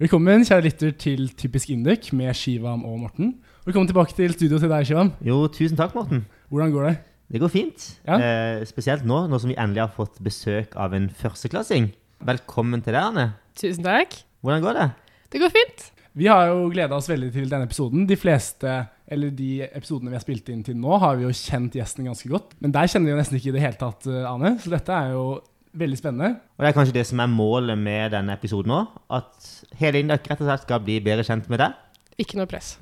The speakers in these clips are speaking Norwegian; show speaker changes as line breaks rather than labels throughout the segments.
Velkommen, kjære lytter, til Typisk Induk med Shivam og Morten. Velkommen tilbake til studio til deg, Shivam.
Jo, tusen takk, Morten.
Hvordan går det?
Det går fint.
Ja.
Eh, spesielt nå, nå som vi endelig har fått besøk av en førsteklassing. Velkommen til deg, Anne.
Tusen takk.
Hvordan går det?
Det går fint.
Vi har jo gleda oss veldig til denne episoden. De fleste, eller de episodene vi har spilt inn til nå, har vi jo kjent gjesten ganske godt. Men der kjenner vi jo nesten ikke i det hele tatt, eh, Ane. Så dette er jo veldig spennende.
Og det er kanskje det som er målet med denne episoden nå, at hele Indøk rett og slett skal bli bedre kjent med deg.
Ikke noe press.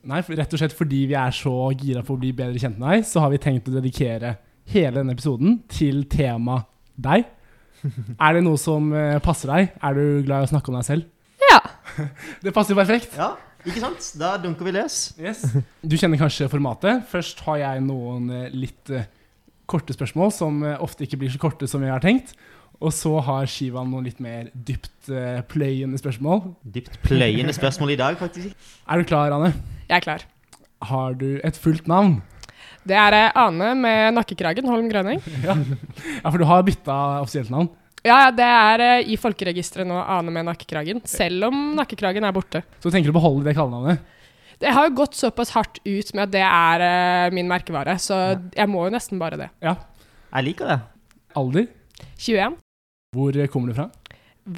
Nei, for, rett og slett fordi vi er så gira på å bli bedre kjent med deg, så har vi tenkt å dedikere hele denne episoden til temaet deg. Er det noe som eh, passer deg? Er du glad i å snakke om deg selv?
Ja.
Det passer jo perfekt.
Ja, ikke sant? Da dunker vi løs.
Yes. Du kjenner kanskje formatet. Først har jeg noen eh, litt eh, korte spørsmål, som eh, ofte ikke blir så korte som jeg har tenkt. Og så har Shivan noen litt mer dypt eh, pløyende spørsmål.
Dypt pløyende spørsmål i dag, faktisk.
Er du klar, Anne?
Jeg er klar.
Har du et fullt navn?
Det er eh, Ane med nakkekragen, Holm Grønning.
Ja, for du har bytta offisielt navn.
Ja, ja, det er eh, i folkeregisteret nå Ane med nakkekragen, selv om nakkekragen er borte.
Så tenker du å beholde det kallenavnet?
Det har jo gått såpass hardt ut med at det er eh, min merkevare, så jeg må jo nesten bare det.
Jeg liker det.
Alder?
21.
Hvor eh, kommer du fra?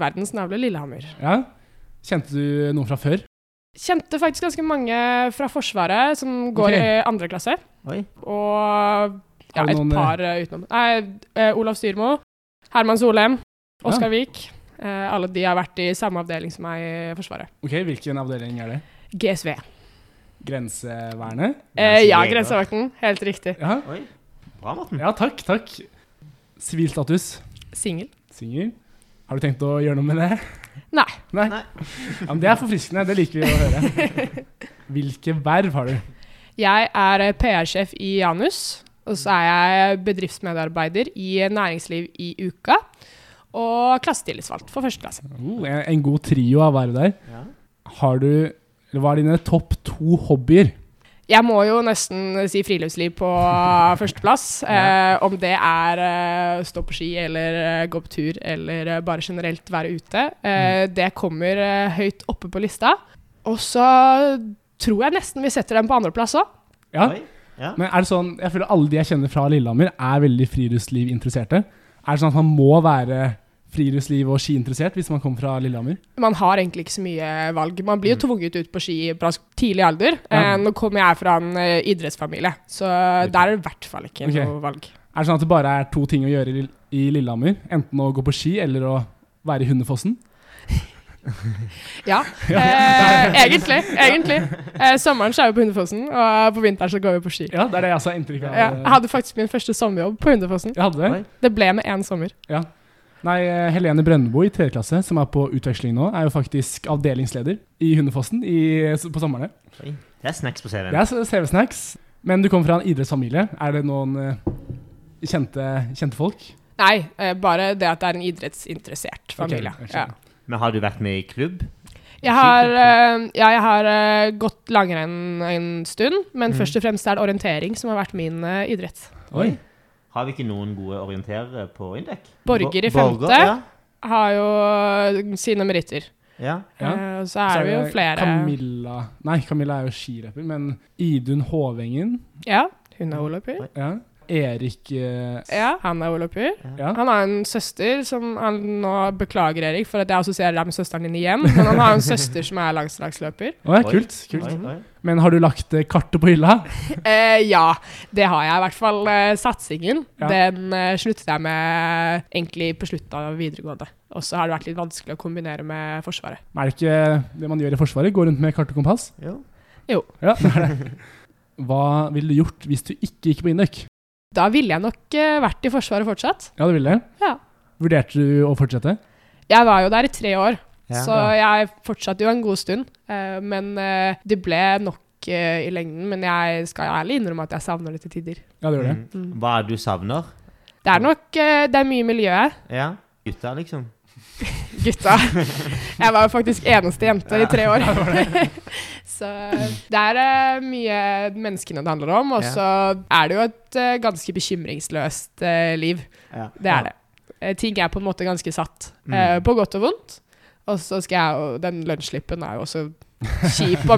Verdens navle Lillehammer.
Ja. Kjente du noen fra før?
Kjente faktisk ganske mange fra Forsvaret som går
Ok.
i andre klasse,
Oi.
og ja,
Har du
et
noen, eh,
par eh, utenom. Nei, eh, Olav Styrmo, Herman Solheim, Oskar Vik. Eh, alle de har vært i samme avdeling som meg i Forsvaret.
Ok, Hvilken avdeling er det?
GSV.
Grensevernet?
Eh, ja,
Grensejeger.
grensevakten. Helt riktig.
Ja,
Oi. Bra, Morten.
ja takk, takk. Sivilstatus?
Singel.
Singel? Har du tenkt å gjøre noe med det?
Nei.
Nei.
Nei.
Ja, men det er forfriskende. Det liker vi å høre. Hvilke verv har du?
Jeg er eh, PR-sjef i Janus, og så er jeg bedriftsmedarbeider i Næringsliv i Uka. Og klassetillitsvalgt for første klasse.
Oh, en en god trio av verv der.
Ja.
Har du eller Hva er dine topp to hobbyer?
Jeg må jo nesten si friluftsliv på førsteplass. Eh, om det er eh, stå på ski eller eh, gå på tur eller eh, bare generelt være ute. Eh,
Mm.
det kommer eh, høyt oppe på lista. Og så tror jeg nesten vi setter den på andreplass òg.
Ja.
Oi. Ja.
Men er det sånn, jeg føler Alle de jeg kjenner fra Lillehammer, er veldig friluftslivinteresserte. Er det sånn at man må være friluftsliv- og skiinteressert hvis man kommer fra Lillehammer?
Man har egentlig ikke så mye valg. Man blir jo tvunget ut på ski i ganske tidlig alder. Eh,
Mm. Ja.
nå kommer jeg fra en eh, idrettsfamilie, så der er det i hvert fall ikke
Ok.
noe valg.
Er det sånn at det bare er to ting å gjøre i Lill- i Lillehammer? Enten å gå på ski eller å være i Hundefossen?
Ja, eh, egentlig. egentlig. Eh, sommeren så er vi på Hundefossen, og på vinteren så går vi på ski.
Ja, det er det jeg også har inntrykk av.
Ja, jeg hadde faktisk min første sommerjobb på Hundefossen.
Jeg hadde det.
Oi.
Det ble med én sommer.
Nei, eh, Helene Brøndbo i tredje klasse, som er på utveksling nå, er jo faktisk avdelingsleder i Hundefossen i, eh, s- på somrene.
Oi. Det er snacks på
Det
CV-en.
er s- CV-snacks. Men du kommer fra en idrettsfamilie. Er det noen eh, kjente, kjente folk?
Nei, eh, bare det at det er en idrettsinteressert familie.
Ok, jeg
ja.
skjønner.
Men har du vært med i klubb?
jeg, har, eh, ja, jeg har eh, gått langrenn en stund, men
Mhm.
først og fremst er det orientering som har vært min eh, idrett.
Oi.
Har vi ikke noen gode orienterere på Indøk?
Borger i
Bo-
femte.
ja.
Har jo eh, sine meritter.
Ja.
Ja.
Eh, så
Så
er det jo flere
Camilla Nei, Camilla er jo skirapper, men Idun Hovengen
Ja, hun er olapyr.
ja. Erik eh,
Ja, han er olapyr.
ja.
Han har en søster som han nå Beklager, Erik, for at jeg assosierer deg med søsteren din igjen. Men han har en søster som er langslagsløper.
Å, ja,
Oi.
kult, kult.
Oi, oi.
Men har du lagt eh, kartet på hylla?
Eh, ja, det har jeg. I hvert fall eh, satsingen.
Ja.
Den eh, sluttet jeg med egentlig på slutten av videregående. Og så har det vært litt vanskelig å kombinere med Forsvaret.
Men Er det ikke det man gjør i Forsvaret? Gå rundt med kart og kompass?
Jo.
Ja, det er det. Hva ville du gjort hvis du ikke gikk på Indøk?
Da ville jeg nok eh, vært i Forsvaret fortsatt.
Ja, du ville det?
Ja.
Vurderte du å fortsette?
Jeg var jo der i tre år,
Ja.
så jeg fortsatte jo en god stund. Eh, men eh, det ble nok eh, i lengden. Men jeg skal ærlig innrømme at jeg savner det til tider. Mm.
Ja, du gjorde det.
Mm. Hva er det du savner?
Det er nok eh, det er mye miljøet.
Ja. gutta, liksom.
gutta. Jeg var jo faktisk eneste jente i tre år. Så det er eh, mye menneskene det handler om, og
Ja.
så er det jo et eh, ganske bekymringsløst eh, liv.
Ja.
Det er det. Eh, Ting er på en måte ganske satt, eh,
Mm.
på godt og vondt. Og så skal jeg jo Den lønnsslippen er jo også kjip å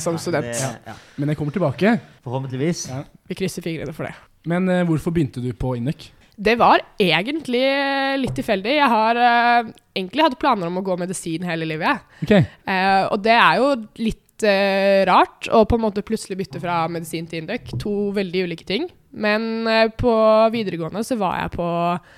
som student.
Det- ja.
Men jeg kommer tilbake.
Forhåpentligvis.
Ja.
Vi krysser fingrene for det.
Men eh, hvorfor begynte du på Innøk?
Det var egentlig eh, litt tilfeldig. Jeg har eh, egentlig hatt planer om å gå medisin hele livet. jeg.
Ok,
Eh, og det er jo litt eh, rart å på en måte plutselig bytte fra medisin til Induc. To veldig ulike ting. Men eh, på videregående så var jeg på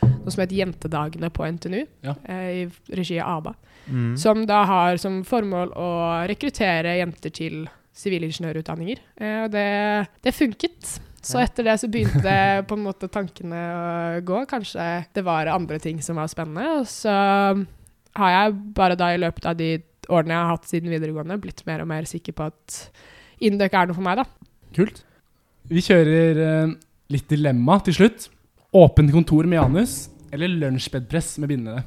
noe som het Jentedagene på NTNU,
Ja.
eh, i regi av ABA.
Mm.
Som da har som formål å rekruttere jenter til sivilingeniørutdanninger. Eh, og det, det funket. Så
Ja.
etter det så begynte på en måte tankene å gå. Kanskje det var andre ting som var spennende. Og så har jeg bare da i løpet av de årene jeg har hatt siden videregående, blitt mer og mer sikker på at Induc er noe for meg, da.
kult. Vi kjører eh, litt dilemma til slutt. Åpent kontor med Janus eller lunsjbedpress med bindene?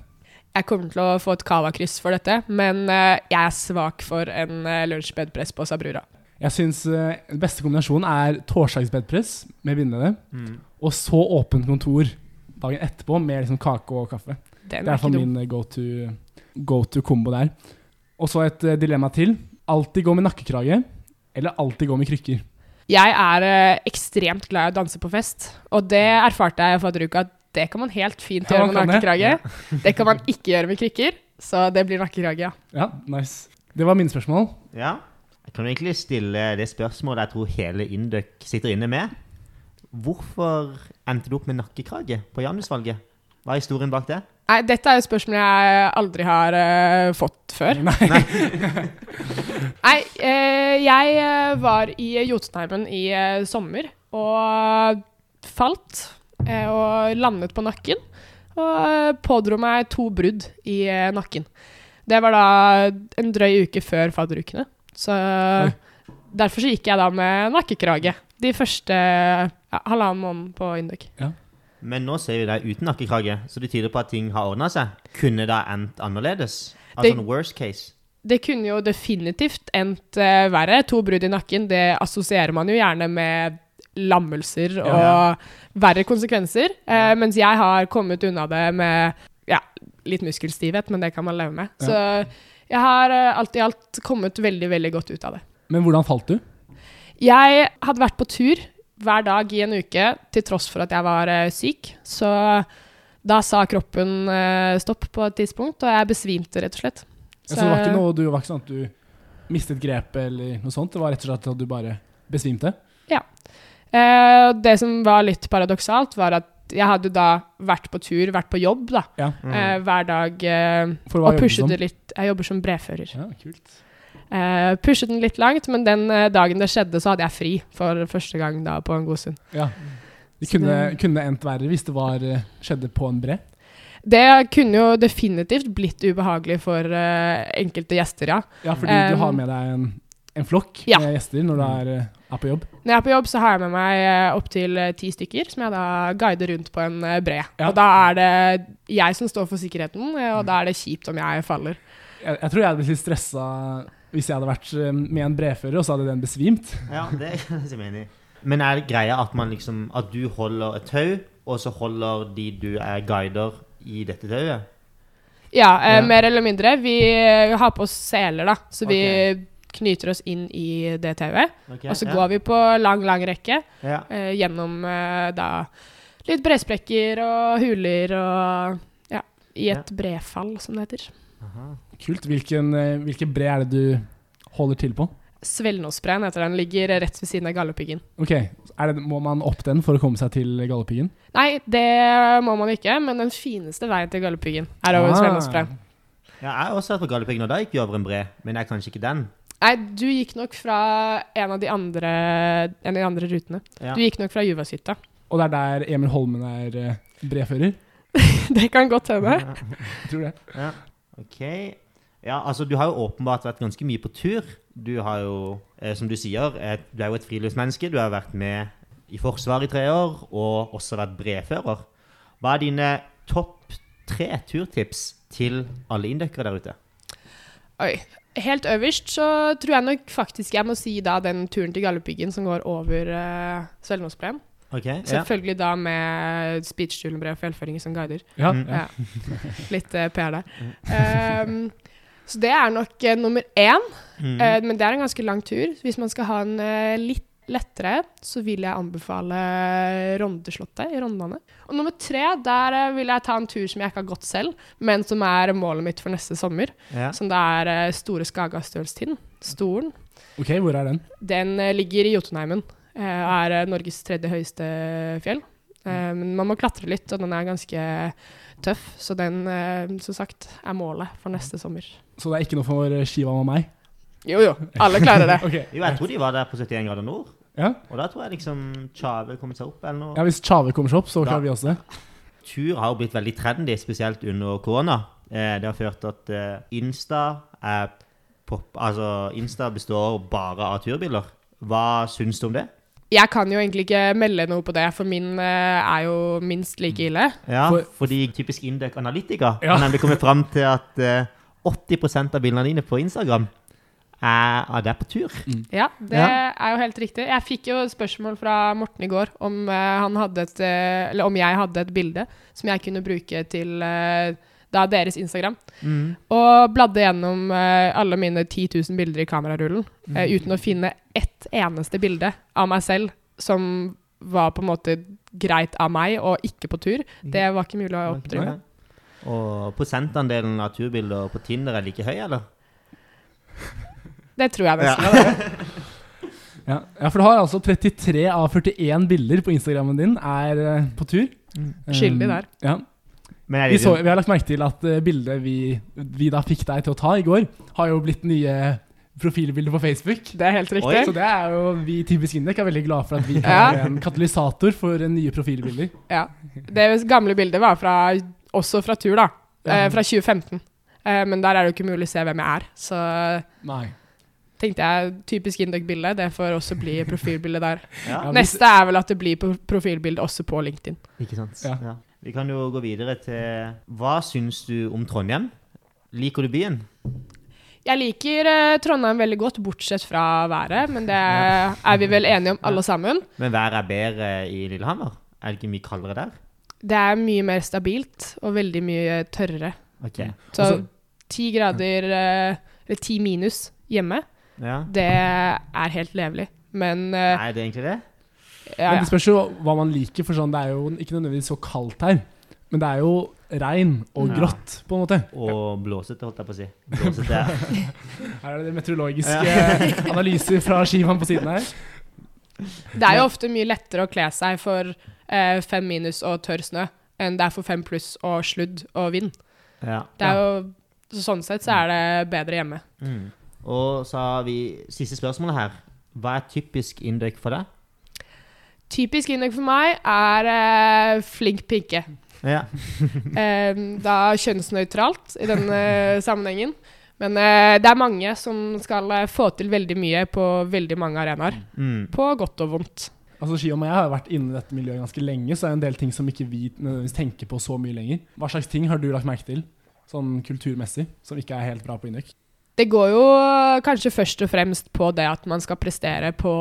Jeg kommer til å få et cava-kryss for dette, men eh, jeg er svak for en eh, lunsjbedpress på Sabrura.
Jeg syns eh, den beste kombinasjonen er torsdagsbedpress med bindene,
Mm.
og så åpent kontor dagen etterpå med liksom kake og kaffe. Det
Den
er
er
for
ikke dum.
min go to, go to kombo der. Og så et eh, dilemma til. Alltid gå med nakkekrage, eller alltid gå med krykker.
Jeg er eh, ekstremt glad i å danse på fest, og det erfarte jeg forrige uke at det kan man helt fint
Ja,
gjøre
man
med
kan det.
nakkekrage. Det kan man ikke gjøre med krykker, så det blir nakkekrage, ja.
Ja, nice. Det var mine spørsmål.
Ja. Jeg kan jo egentlig stille det spørsmålet jeg tror hele Induc sitter inne med. Hvorfor endte du opp med nakkekrage på Janusvalget? Hva er historien bak det?
Nei, dette er jo spørsmål jeg aldri har eh, fått før.
Nei.
Nei, eh, jeg eh, var i Jotunheimen i eh, sommer og falt eh, og landet på nakken. Og eh, pådro meg to brudd i eh, nakken. Det var da en drøy uke før fadderukene. Så derfor så gikk jeg da med nakkekrage de første ja, halvannen måneden på Induc.
Men nå ser vi deg uten nakkekrage, så det tyder på at ting har ordna seg. Kunne det ha endt annerledes? Altså
Det-
en worst case.
Det kunne jo definitivt endt eh, verre. To brudd i nakken, det assosierer man jo gjerne med lammelser og
Ja.
verre konsekvenser. eh, mens jeg har kommet unna det med ja, litt muskelstivhet, men det kan man leve med.
Ja.
Så jeg har eh, alt i alt kommet veldig, veldig godt ut av det.
Men hvordan falt du?
Jeg hadde vært på tur hver dag i en uke, til tross for at jeg var eh, syk. Så da sa kroppen eh, stopp på et tidspunkt, og jeg besvimte, rett og slett.
Så, det var ikke noe du var ikke sånn at du mistet grepet eller noe sånt? Det var rett og slett at du bare besvimte?
Eh, og det som var litt paradoksalt, var at jeg hadde da vært på tur, vært på jobb da,
Ja.
eh, hver dag, eh,
For Mm. hva
og
jobber du
pushet
som?
det litt. Jeg jobber som brevfører.
Ja, kult.
Eh, pushet den litt langt, men den eh, dagen det skjedde, så hadde jeg fri for første gang da på en god stund.
Ja. Det
Så
kunne,
det-
kunne endt verre hvis det var, eh, skjedde på en bre.
Det kunne jo definitivt blitt ubehagelig for eh, enkelte gjester, ja.
Ja, fordi du
Um,
har med deg en, en flokk
ja.
med gjester når du er, eh, er på jobb.
Når jeg er på jobb, så har jeg med meg eh, opptil ti stykker, som jeg da guider rundt på en eh, bre.
Ja. Mm.
Og da er det jeg som står for sikkerheten, eh, og da er det kjipt om jeg faller.
Jeg, jeg tror jeg hadde blitt litt stressa hvis jeg hadde vært eh, med en brefører, og så hadde den besvimt.
Ja, det er jeg ikke enig i. Men er det greia at, man liksom, at du holder et tau, og så holder de du er guider i dette tauet?
Ja, eh,
Ja.
mer eller mindre. Vi eh, har på oss seler, da. Så
Ok.
vi knyter oss inn i det tauet.
Ok,
Og så
ja.
går vi på lang, lang rekke
ja.
eh, gjennom eh, da litt bresprekker og huler og ja, i et brefall, som det heter.
Aha.
Kult. Hvilken, eh, hvilken bre er det du holder til på?
Svelnosbreen heter den. Ligger rett ved siden av Galdhøpiggen.
Ok, er det, Må man opp den for å komme seg til Galdhøpiggen?
Nei, det må man ikke, men den fineste veien til Galdhøpiggen er over
Ah.
Svelnosbreen.
Ja, jeg har også vært på Galdhøpiggen, og da gikk vi over en bre, men jeg er kanskje ikke den.
Nei, du gikk nok fra en av de andre, en av de andre rutene.
Ja.
Du gikk nok fra Juvashytta.
Og det er der Emil Holmen er eh, brefører?
det kan godt hende.
Jeg tror det.
Ja. Ok. Ja, altså, du har jo åpenbart vært ganske mye på tur. Du har jo, eh, som du sier, et, du er jo et friluftsmenneske. Du har vært med i Forsvaret i tre år, og også vært brefører. Hva er dine topp tre turtips til alle indøkere der ute.
Oi. Helt øverst så tror jeg nok faktisk jeg må si da den turen til Galdhøpiggen som går over uh, Svelmospleen.
Ok, ja.
Selvfølgelig da med speech-julebrev for velføringer som guider.
Ja,
Mm.
ja.
Litt eh, PR der. Ehm, så det er nok eh, nummer én,
Mm.
eh, men det er en ganske lang tur. Hvis man skal ha en eh, litt lettere, så vil jeg anbefale eh, Rondeslottet i Rondane. Og nummer tre, der eh, vil jeg ta en tur som jeg ikke har gått selv, men som er målet mitt for neste sommer.
ja.
Som det er eh, Store Skaga Stølstind. Stolen.
Ok, hvor er den?
Den eh, ligger i Jotunheimen eh, og er eh, Norges tredje høyeste fjell. Eh, Men man må klatre litt, og den er ganske tøff. Så den, eh, som sagt, er målet for neste sommer.
Så det er ikke noe for eh, Shivan og meg?
Jo jo, alle klarer det.
Ok,
Jo, jeg tror de var der på 71 grader nord.
Ja.
Og da tror jeg liksom Tjave kom seg opp eller noe.
ja, Hvis Tjave kommer seg opp, så
Ja.
klarer vi også det.
Tur har jo blitt veldig trendy, spesielt under korona. Eh, det har ført til at eh, Insta er pop... Altså, Insta består bare av turbilder. Hva syns du om det?
Jeg kan jo egentlig ikke melde noe på det, for min eh, er jo minst like ille.
Ja,
For-
fordi typisk Indøk Analytica
Ja.
har nemlig kommet fram til at eh, 80 av bildene dine på Instagram er av deg på tur.
Ja, det
Ja.
er jo helt riktig. Jeg fikk jo spørsmål fra Morten i går om, eh, han hadde et, eh, eller om jeg hadde et bilde som jeg kunne bruke til eh, da deres Instagram. Og bladde gjennom eh, alle mine 10 000 bilder i kamerarullen eh, uten å finne ett eneste bilde av meg selv som var på en måte greit av meg og ikke på tur. Det var ikke mulig å oppdrive.
Og prosentandelen av turbilder på Tinder er like høy, eller?
Det tror jeg nesten.
Ja. ja, For du har altså 33 av 41 bilder på Instagrammen din er eh, på tur.
Mm.
Skyldig der.
Um, Ja.
Men er
Vi,
det,
så, vi har lagt merke til at eh, bildet vi, vi da fikk deg til å ta i går, har jo blitt nye profilbilder på Facebook.
Det er helt
Oi,
Så
riktig.
det er jo vi typisk Indek er veldig glad for at vi kan
Ja.
være en katalysator for eh, nye profilbilder.
Ja. Det gamle bildet var fra, også fra tur, da. Eh,
Ja.
fra 2015. Eh, men der er det jo ikke mulig å se hvem jeg er. Så
Nei.
tenkte jeg typisk Induc-bilde. Det får også bli profilbilde der.
ja.
Ja, hvis-
Neste er vel at det blir på profilbilde også på LinkedIn.
Ikke sant?
Ja.
Ja. Vi kan jo gå videre til Hva syns du om Trondheim? Liker du byen?
Jeg liker eh, Trondheim veldig godt, bortsett fra været, men det er vi vel enige om alle sammen.
Men været er bedre i Lillehammer? Er det ikke mye kaldere der?
Det er mye mer stabilt og veldig mye tørrere.
Ok.
Så
Altså-
ti grader, eh, eller ti minus hjemme,
Ja.
det er helt levelig. Men eh,
Er det egentlig det?
ja,
Men
ja.
det spørs jo hva man liker, for sånn, det er jo ikke nødvendigvis så kaldt her. Men det er jo regn og
Ja.
grått, på en måte.
Og blåsete, holdt jeg på å si. Blåsete.
Her er det meteorologiske analyser fra Shivan på siden her.
Det er jo ofte mye lettere å kle seg for eh, fem minus og tørr snø enn det er for fem pluss og sludd og vind.
Ja.
Det er jo, så sånn sett så er det bedre hjemme.
Mm. Og så har vi siste spørsmålet her. Hva er typisk indøk for deg?
Typisk innlegg for meg er eh, flink pinke.
Ja.
Eh, da kjønnsnøytralt i denne sammenhengen. Men eh, det er mange som skal eh, få til veldig mye på veldig mange arenaer.
Mm.
På godt og vondt.
Altså, Shivan og jeg har jo vært inne i dette miljøet ganske lenge, så er det en del ting som ikke vi nødvendigvis tenker på så mye lenger. Hva slags ting har du lagt merke til, sånn kulturmessig, som ikke er helt bra på Induk?
Det går jo eh, kanskje først og fremst på det at man skal prestere på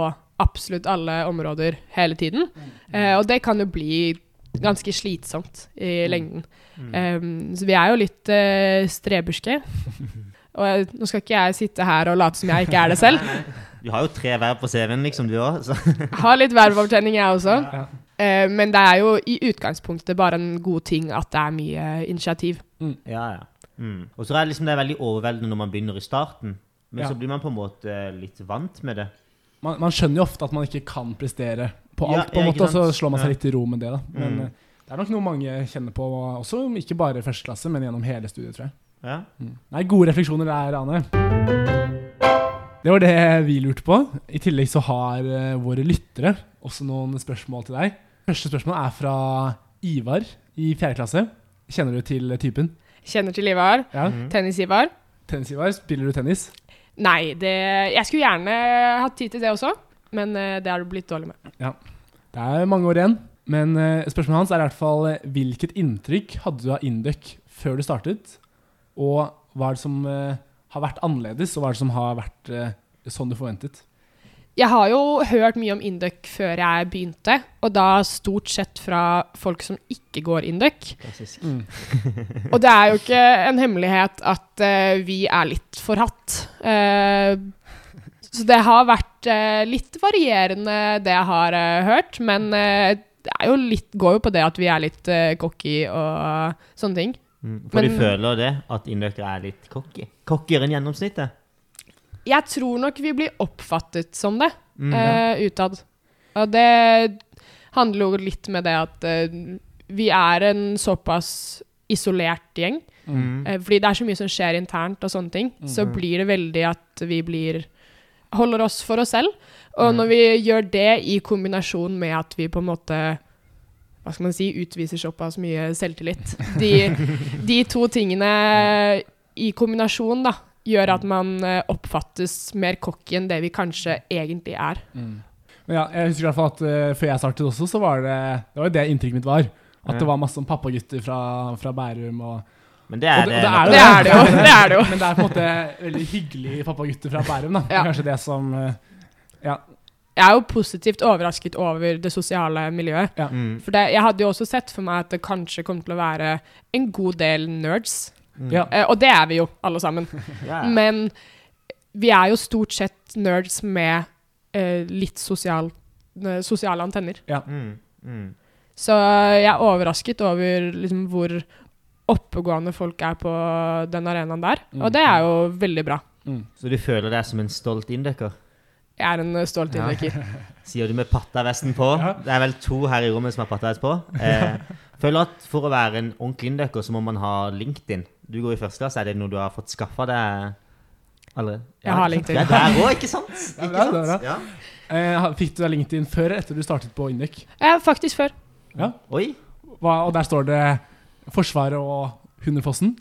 absolutt alle områder hele tiden. Eh, og det kan jo bli ganske slitsomt i lengden. Eh, så vi er jo litt eh, streberske. Og jeg, nå skal ikke jeg sitte her og late som jeg ikke er det selv.
Du har jo tre verv på CV-en, liksom, du òg.
Har litt verveopptjening, jeg også.
Ja.
Eh, men det er jo i utgangspunktet bare en god ting at det er mye initiativ.
Ja, ja. Mm. Og så er det liksom det er veldig overveldende når man begynner i starten. Men
Ja.
så blir man på en måte litt vant med det.
Man, man skjønner jo ofte at man ikke kan prestere på
Ja,
alt, på en
ja,
måte,
ikke
og så
sant?
slår man seg
Ja.
litt til ro med det. da. Men
Mm.
eh, det er nok noe mange kjenner på, også om ikke bare i første klasse, men gjennom hele studiet, tror jeg.
Ja.
Mm. Nei, gode refleksjoner der, Ane. Det var det vi lurte på. I tillegg så har eh, våre lyttere også noen spørsmål til deg. Første spørsmål er fra Ivar i fjerde klasse. Kjenner du til typen?
Kjenner til Ivar.
Ja.
Mm.
Tennis-Ivar.
Tennis-Ivar, spiller du tennis?
Nei, det, jeg skulle gjerne hatt tid til det også, men eh, det har du blitt dårlig med.
Det er mange år igjen. Men eh, spørsmålet hans er i hvert fall eh, hvilket inntrykk hadde du av Induc før du startet? Og hva er det som eh, har vært annerledes, og hva er det som har vært eh, sånn du forventet?
Jeg har jo hørt mye om Induc før jeg begynte, og da stort sett fra folk som ikke går Induc.
Klassisk.
Mm.
Og det er jo ikke en hemmelighet at eh, vi er litt forhatt. Eh, så det har vært eh, litt varierende, det jeg har eh, hørt, men eh, det er jo litt, går jo på det at vi er litt eh, cocky og sånne ting.
Mm. For de
Men-
føler det, at innløkere er litt cocky. Cockyere enn gjennomsnittet.
Jeg tror nok vi blir oppfattet som det
Mm.
eh, utad. Og det handler jo litt med det at eh, vi er en såpass isolert gjeng.
Mm.
Eh, fordi det er så mye som skjer internt og sånne ting, så blir det veldig at vi blir Holder oss for oss selv. Og når vi gjør det i kombinasjon med at vi på en måte hva skal man si, utviser såpass mye selvtillit. De, de to tingene i kombinasjon da, gjør at man eh, oppfattes mer cocky enn det vi kanskje egentlig er.
Men ja, jeg husker i hvert fall at eh, før jeg startet også, så var det det, var jo det inntrykket mitt var. At det var masse sånn pappagutter fra, fra Bærum og
Men det er
og
det.
og
Det er det jo, det er det jo.
Men det er på en måte veldig hyggelige pappagutter fra Bærum, da.
Ja.
Kanskje det som eh,
Jeg er jo positivt overrasket over det sosiale miljøet.
Mm.
For det, jeg hadde jo også sett for meg at det kanskje kom til å være en god del nerds.
Ja.
Eh, og det er vi jo, alle sammen.
Mm. Ja.
Men vi er jo stort sett nerds med eh, litt sosial, eh, sosiale antenner.
Mm. Mm.
Så jeg er overrasket over liksom, hvor oppegående folk er på den arenaen der. Og det er jo veldig bra.
Så du føler deg som en stolt innløker?
Jeg er en eh, stolt
Ja.
innrøkker.
Sier du med pattavesten på?
Ja.
Det er vel to her i rommet som har pattavest på. Eh, føler at for å være en ordentlig innløkker, så må man ha LinkedIn. Du går i første klasse. Er det noe du har fått skaffa deg? Allerede?
Jeg har LinkedIn.
Du er der òg, ikke sant?
Ja,
Ikke
bra,
sant?
bra.
Ja.
eh, ha- Fikk du deg LinkedIn før eller etter du startet på Induc?
Eh, faktisk før.
Oi.
Hva, og der står det Forsvaret og Hundefossen.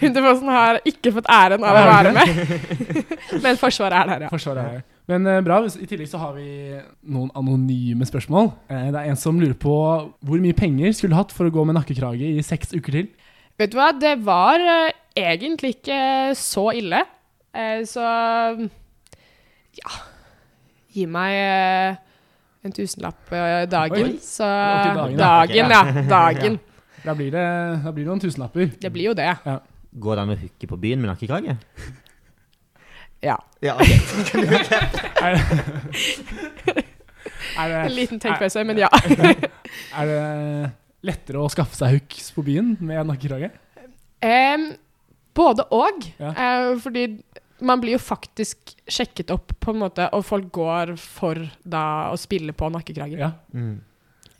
Hundefossen har ikke fått æren av å
Nei,
være med. Men Forsvaret er der, ja.
Forsvaret er her. Men eh, bra. hvis- I tillegg så har vi noen anonyme spørsmål. Eh, det er en som lurer på hvor mye penger skulle du hatt for å gå med nakkekrage i seks uker til?
Vet du hva, det var eh, egentlig ikke så ille. Eh, så ja Gi meg eh, en tusenlapp eh, dagen.
Oi.
Så
Ok, dagen,
dagen,
ja.
Ok,
ja. Dagen.
Da blir det, da blir det noen tusenlapper.
Det blir jo det.
Går det an å hooke på byen med nakkekrage?
Ja.
Ja, altså, ok.
Er det, er
En
det,
liten tenkepause, men ja.
er det lettere å skaffe seg hooks på byen med nakkekrage?
Em, både og.
Ja.
Eh, fordi man blir jo faktisk sjekket opp, på en måte, og folk går for da å spille på nakkekrager.
Ja.
Mm.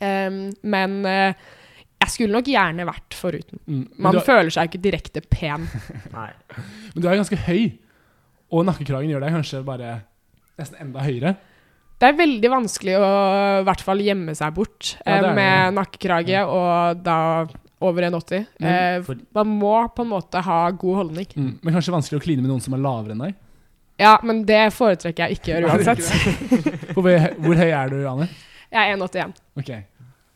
Em, men eh, jeg skulle nok gjerne vært foruten.
Mm. Men,
Man
du, er-
føler seg ikke direkte pen.
Nei.
men du er ganske høy, og nakkekragen gjør deg kanskje bare nesten enda høyere.
Det er veldig vanskelig å i hvert fall gjemme seg bort
Ja, det er
eh,
det.
med nakkekrage og da over 1,80. Eh,
for-
man må på en måte ha god holdning.
Mm. Men kanskje vanskelig å kline med noen som er lavere enn deg.
Ja, men det foretrekker jeg ikke å gjøre uansett.
Hvor, hvor høy er du, Anne?
Jeg er 1,81.
Ok.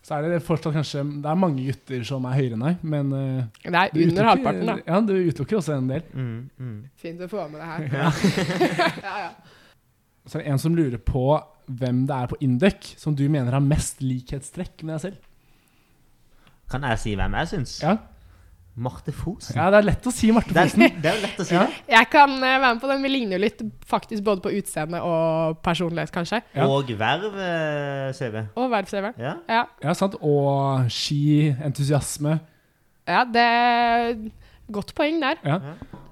Så er det fortsatt kanskje Det er mange gutter som er høyere enn deg, men eh,
Det er
du utelukker-
under halvparten, da.
Ja, du utelukker også en del.
Mm. Mm.
Fint å få med det her. ja, ja.
Så er det en som lurer på hvem det er på Induc som du mener har mest likhetstrekk med deg selv.
Kan jeg si hvem jeg syns?
Ja,
Marte Fosen.
ja det er lett å si Marte
Det, er,
Fosen.
det er jo lett å si
Ja.
det.
Jeg kan eh, være med på den. Vi ligner jo litt faktisk både på utseende og personlighet, kanskje.
Ja.
Og verv, eh, CV.
Og verdenslederen.
Ja.
Ja.
Ja, sant. Og skientusiasme.
ja, det er Godt poeng der.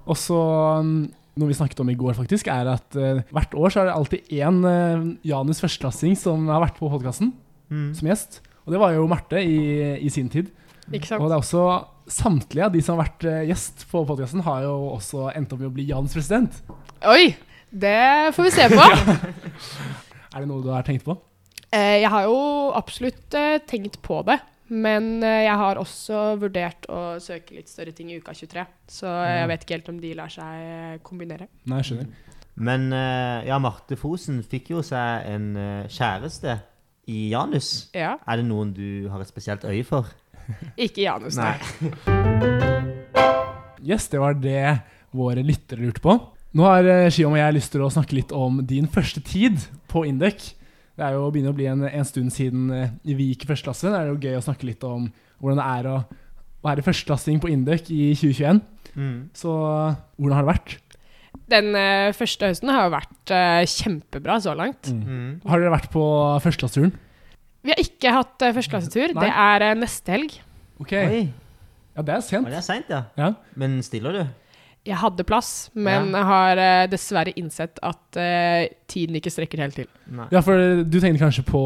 Og så mm, noe vi snakket om i går, faktisk, er at eh, hvert år så er det alltid én eh, Janus førsteklassing som har vært på podkasten
Mm.
som gjest. Og det var jo Marte i, i sin tid.
Ikke sant?
Og det er også samtlige av de som har vært eh, gjest på podkasten, har jo også endt opp med å bli Jans president.
Oi! Det får vi se på.
Er det noe du har tenkt på?
Eh, Jeg har jo absolutt eh, tenkt på det, men eh, jeg har også vurdert å søke litt større ting i uka 23. Så jeg vet ikke helt om de lar seg eh, kombinere.
Nei, jeg skjønner.
Men eh, ja, Marte Fosen fikk jo seg en eh, kjæreste i Janus.
Ja.
Er det noen du har et spesielt øye for?
Ikke Janus, nei.
Yes, det var det våre lyttere lurte på. Nå har eh, Shion og jeg lyst til å snakke litt om din første tid på Indek. Det er jo begynner å bli en, en stund siden eh, vi gikk i første klasse. Det er jo gøy å snakke litt om hvordan det er å være førsteklassing på Indek i 2021.
Mm.
Så eh, hvordan har det vært?
Den eh, første høsten har jo vært eh, kjempebra så langt.
Mm.
Har dere vært på førsteklasseturen?
Vi har ikke hatt uh, førsteklassetur.
Nei.
Det er eh, neste helg.
Ok.
Oi,
Ja, det er
men
sent.
det er seint, ja.
Ja.
Men stiller du?
Jeg hadde plass, men
Ja.
jeg har eh, dessverre innsett at eh, tiden ikke strekker helt til.
Nei.
ja, for du tenkte kanskje på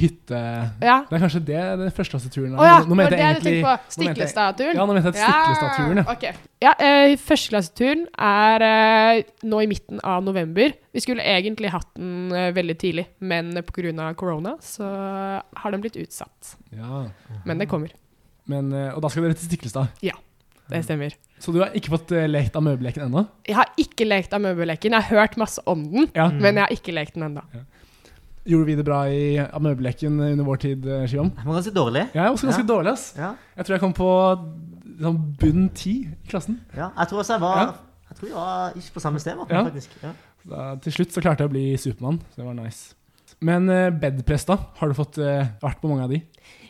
hytte...
Ja.
Det er kanskje det den førsteklasseturen
Å ja,
Nå
det var
mente jeg
det jeg
egentlig
tenkte
nå
på.
mente jeg-
Stiklestad-turen.
Ja, nå mente jeg at Stiklestad-turen, ja.
ja. ok. Ja, eh, Førsteklasseturen er eh, nå i midten av november. Vi skulle egentlig hatt den eh, veldig tidlig, men pga. korona så har den blitt utsatt.
ja.
Men det kommer.
Men, eh, og da skal dere til Stiklestad.
Det stemmer.
Så du har ikke fått eh, lekt av møbelleken ennå?
Jeg har ikke lekt av møbelleken. Jeg har hørt masse om den,
Ja.
Mm.
men jeg har ikke lekt den ennå.
Gjorde vi det bra i av møbelleken under vår tid, eh, Shivam?
Den var ganske dårlig.
Jeg er også ganske
Ja.
dårlig, ass.
Ja.
Jeg tror jeg kom på sånn bunn ti i klassen.
ja. Jeg tror også jeg var
Ja.
Jeg tror jeg var ikke på samme sted, var,
Ja.
faktisk. Ja.
Så Da, til slutt så klarte jeg å bli Supermann, så det var nice. Men eh, bedpress, da? Har du fått eh, vært på mange av de?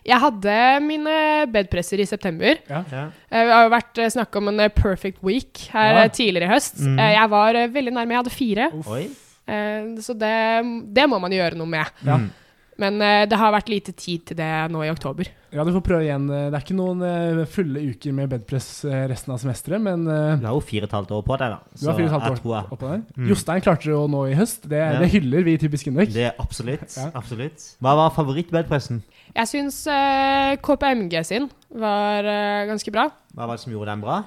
Jeg hadde mine bedpresser i september.
Ja.
Eh, Det har jo vært eh, snakk om en eh, perfect week her
Ja. Mm.
eh, tidligere i høst.
Mhm.
Eh, Jeg var eh, veldig nærme. Jeg hadde fire,
Oi.
eh, så det, det må man gjøre noe med.
Ja.
Mm.
Men eh, det har vært lite tid til det nå i oktober.
Ja, du får prøve igjen. Eh, Det er ikke noen eh, fulle uker med bedpress eh, resten av semesteret, men eh,
Du har jo fire og et halvt år på deg, da.
du har fire og et halvt
jeg tror
år
jeg-
oppå der.
Mm.
Jostein klarte det jo nå i høst. Det,
Ja.
det hyller vi i Typisk Induk.
Det er absolutt.
Ja.
Absolutt. Hva var favorittbedpressen?
Jeg syns eh, KPMG sin var eh, ganske bra.
Hva var det som gjorde den bra?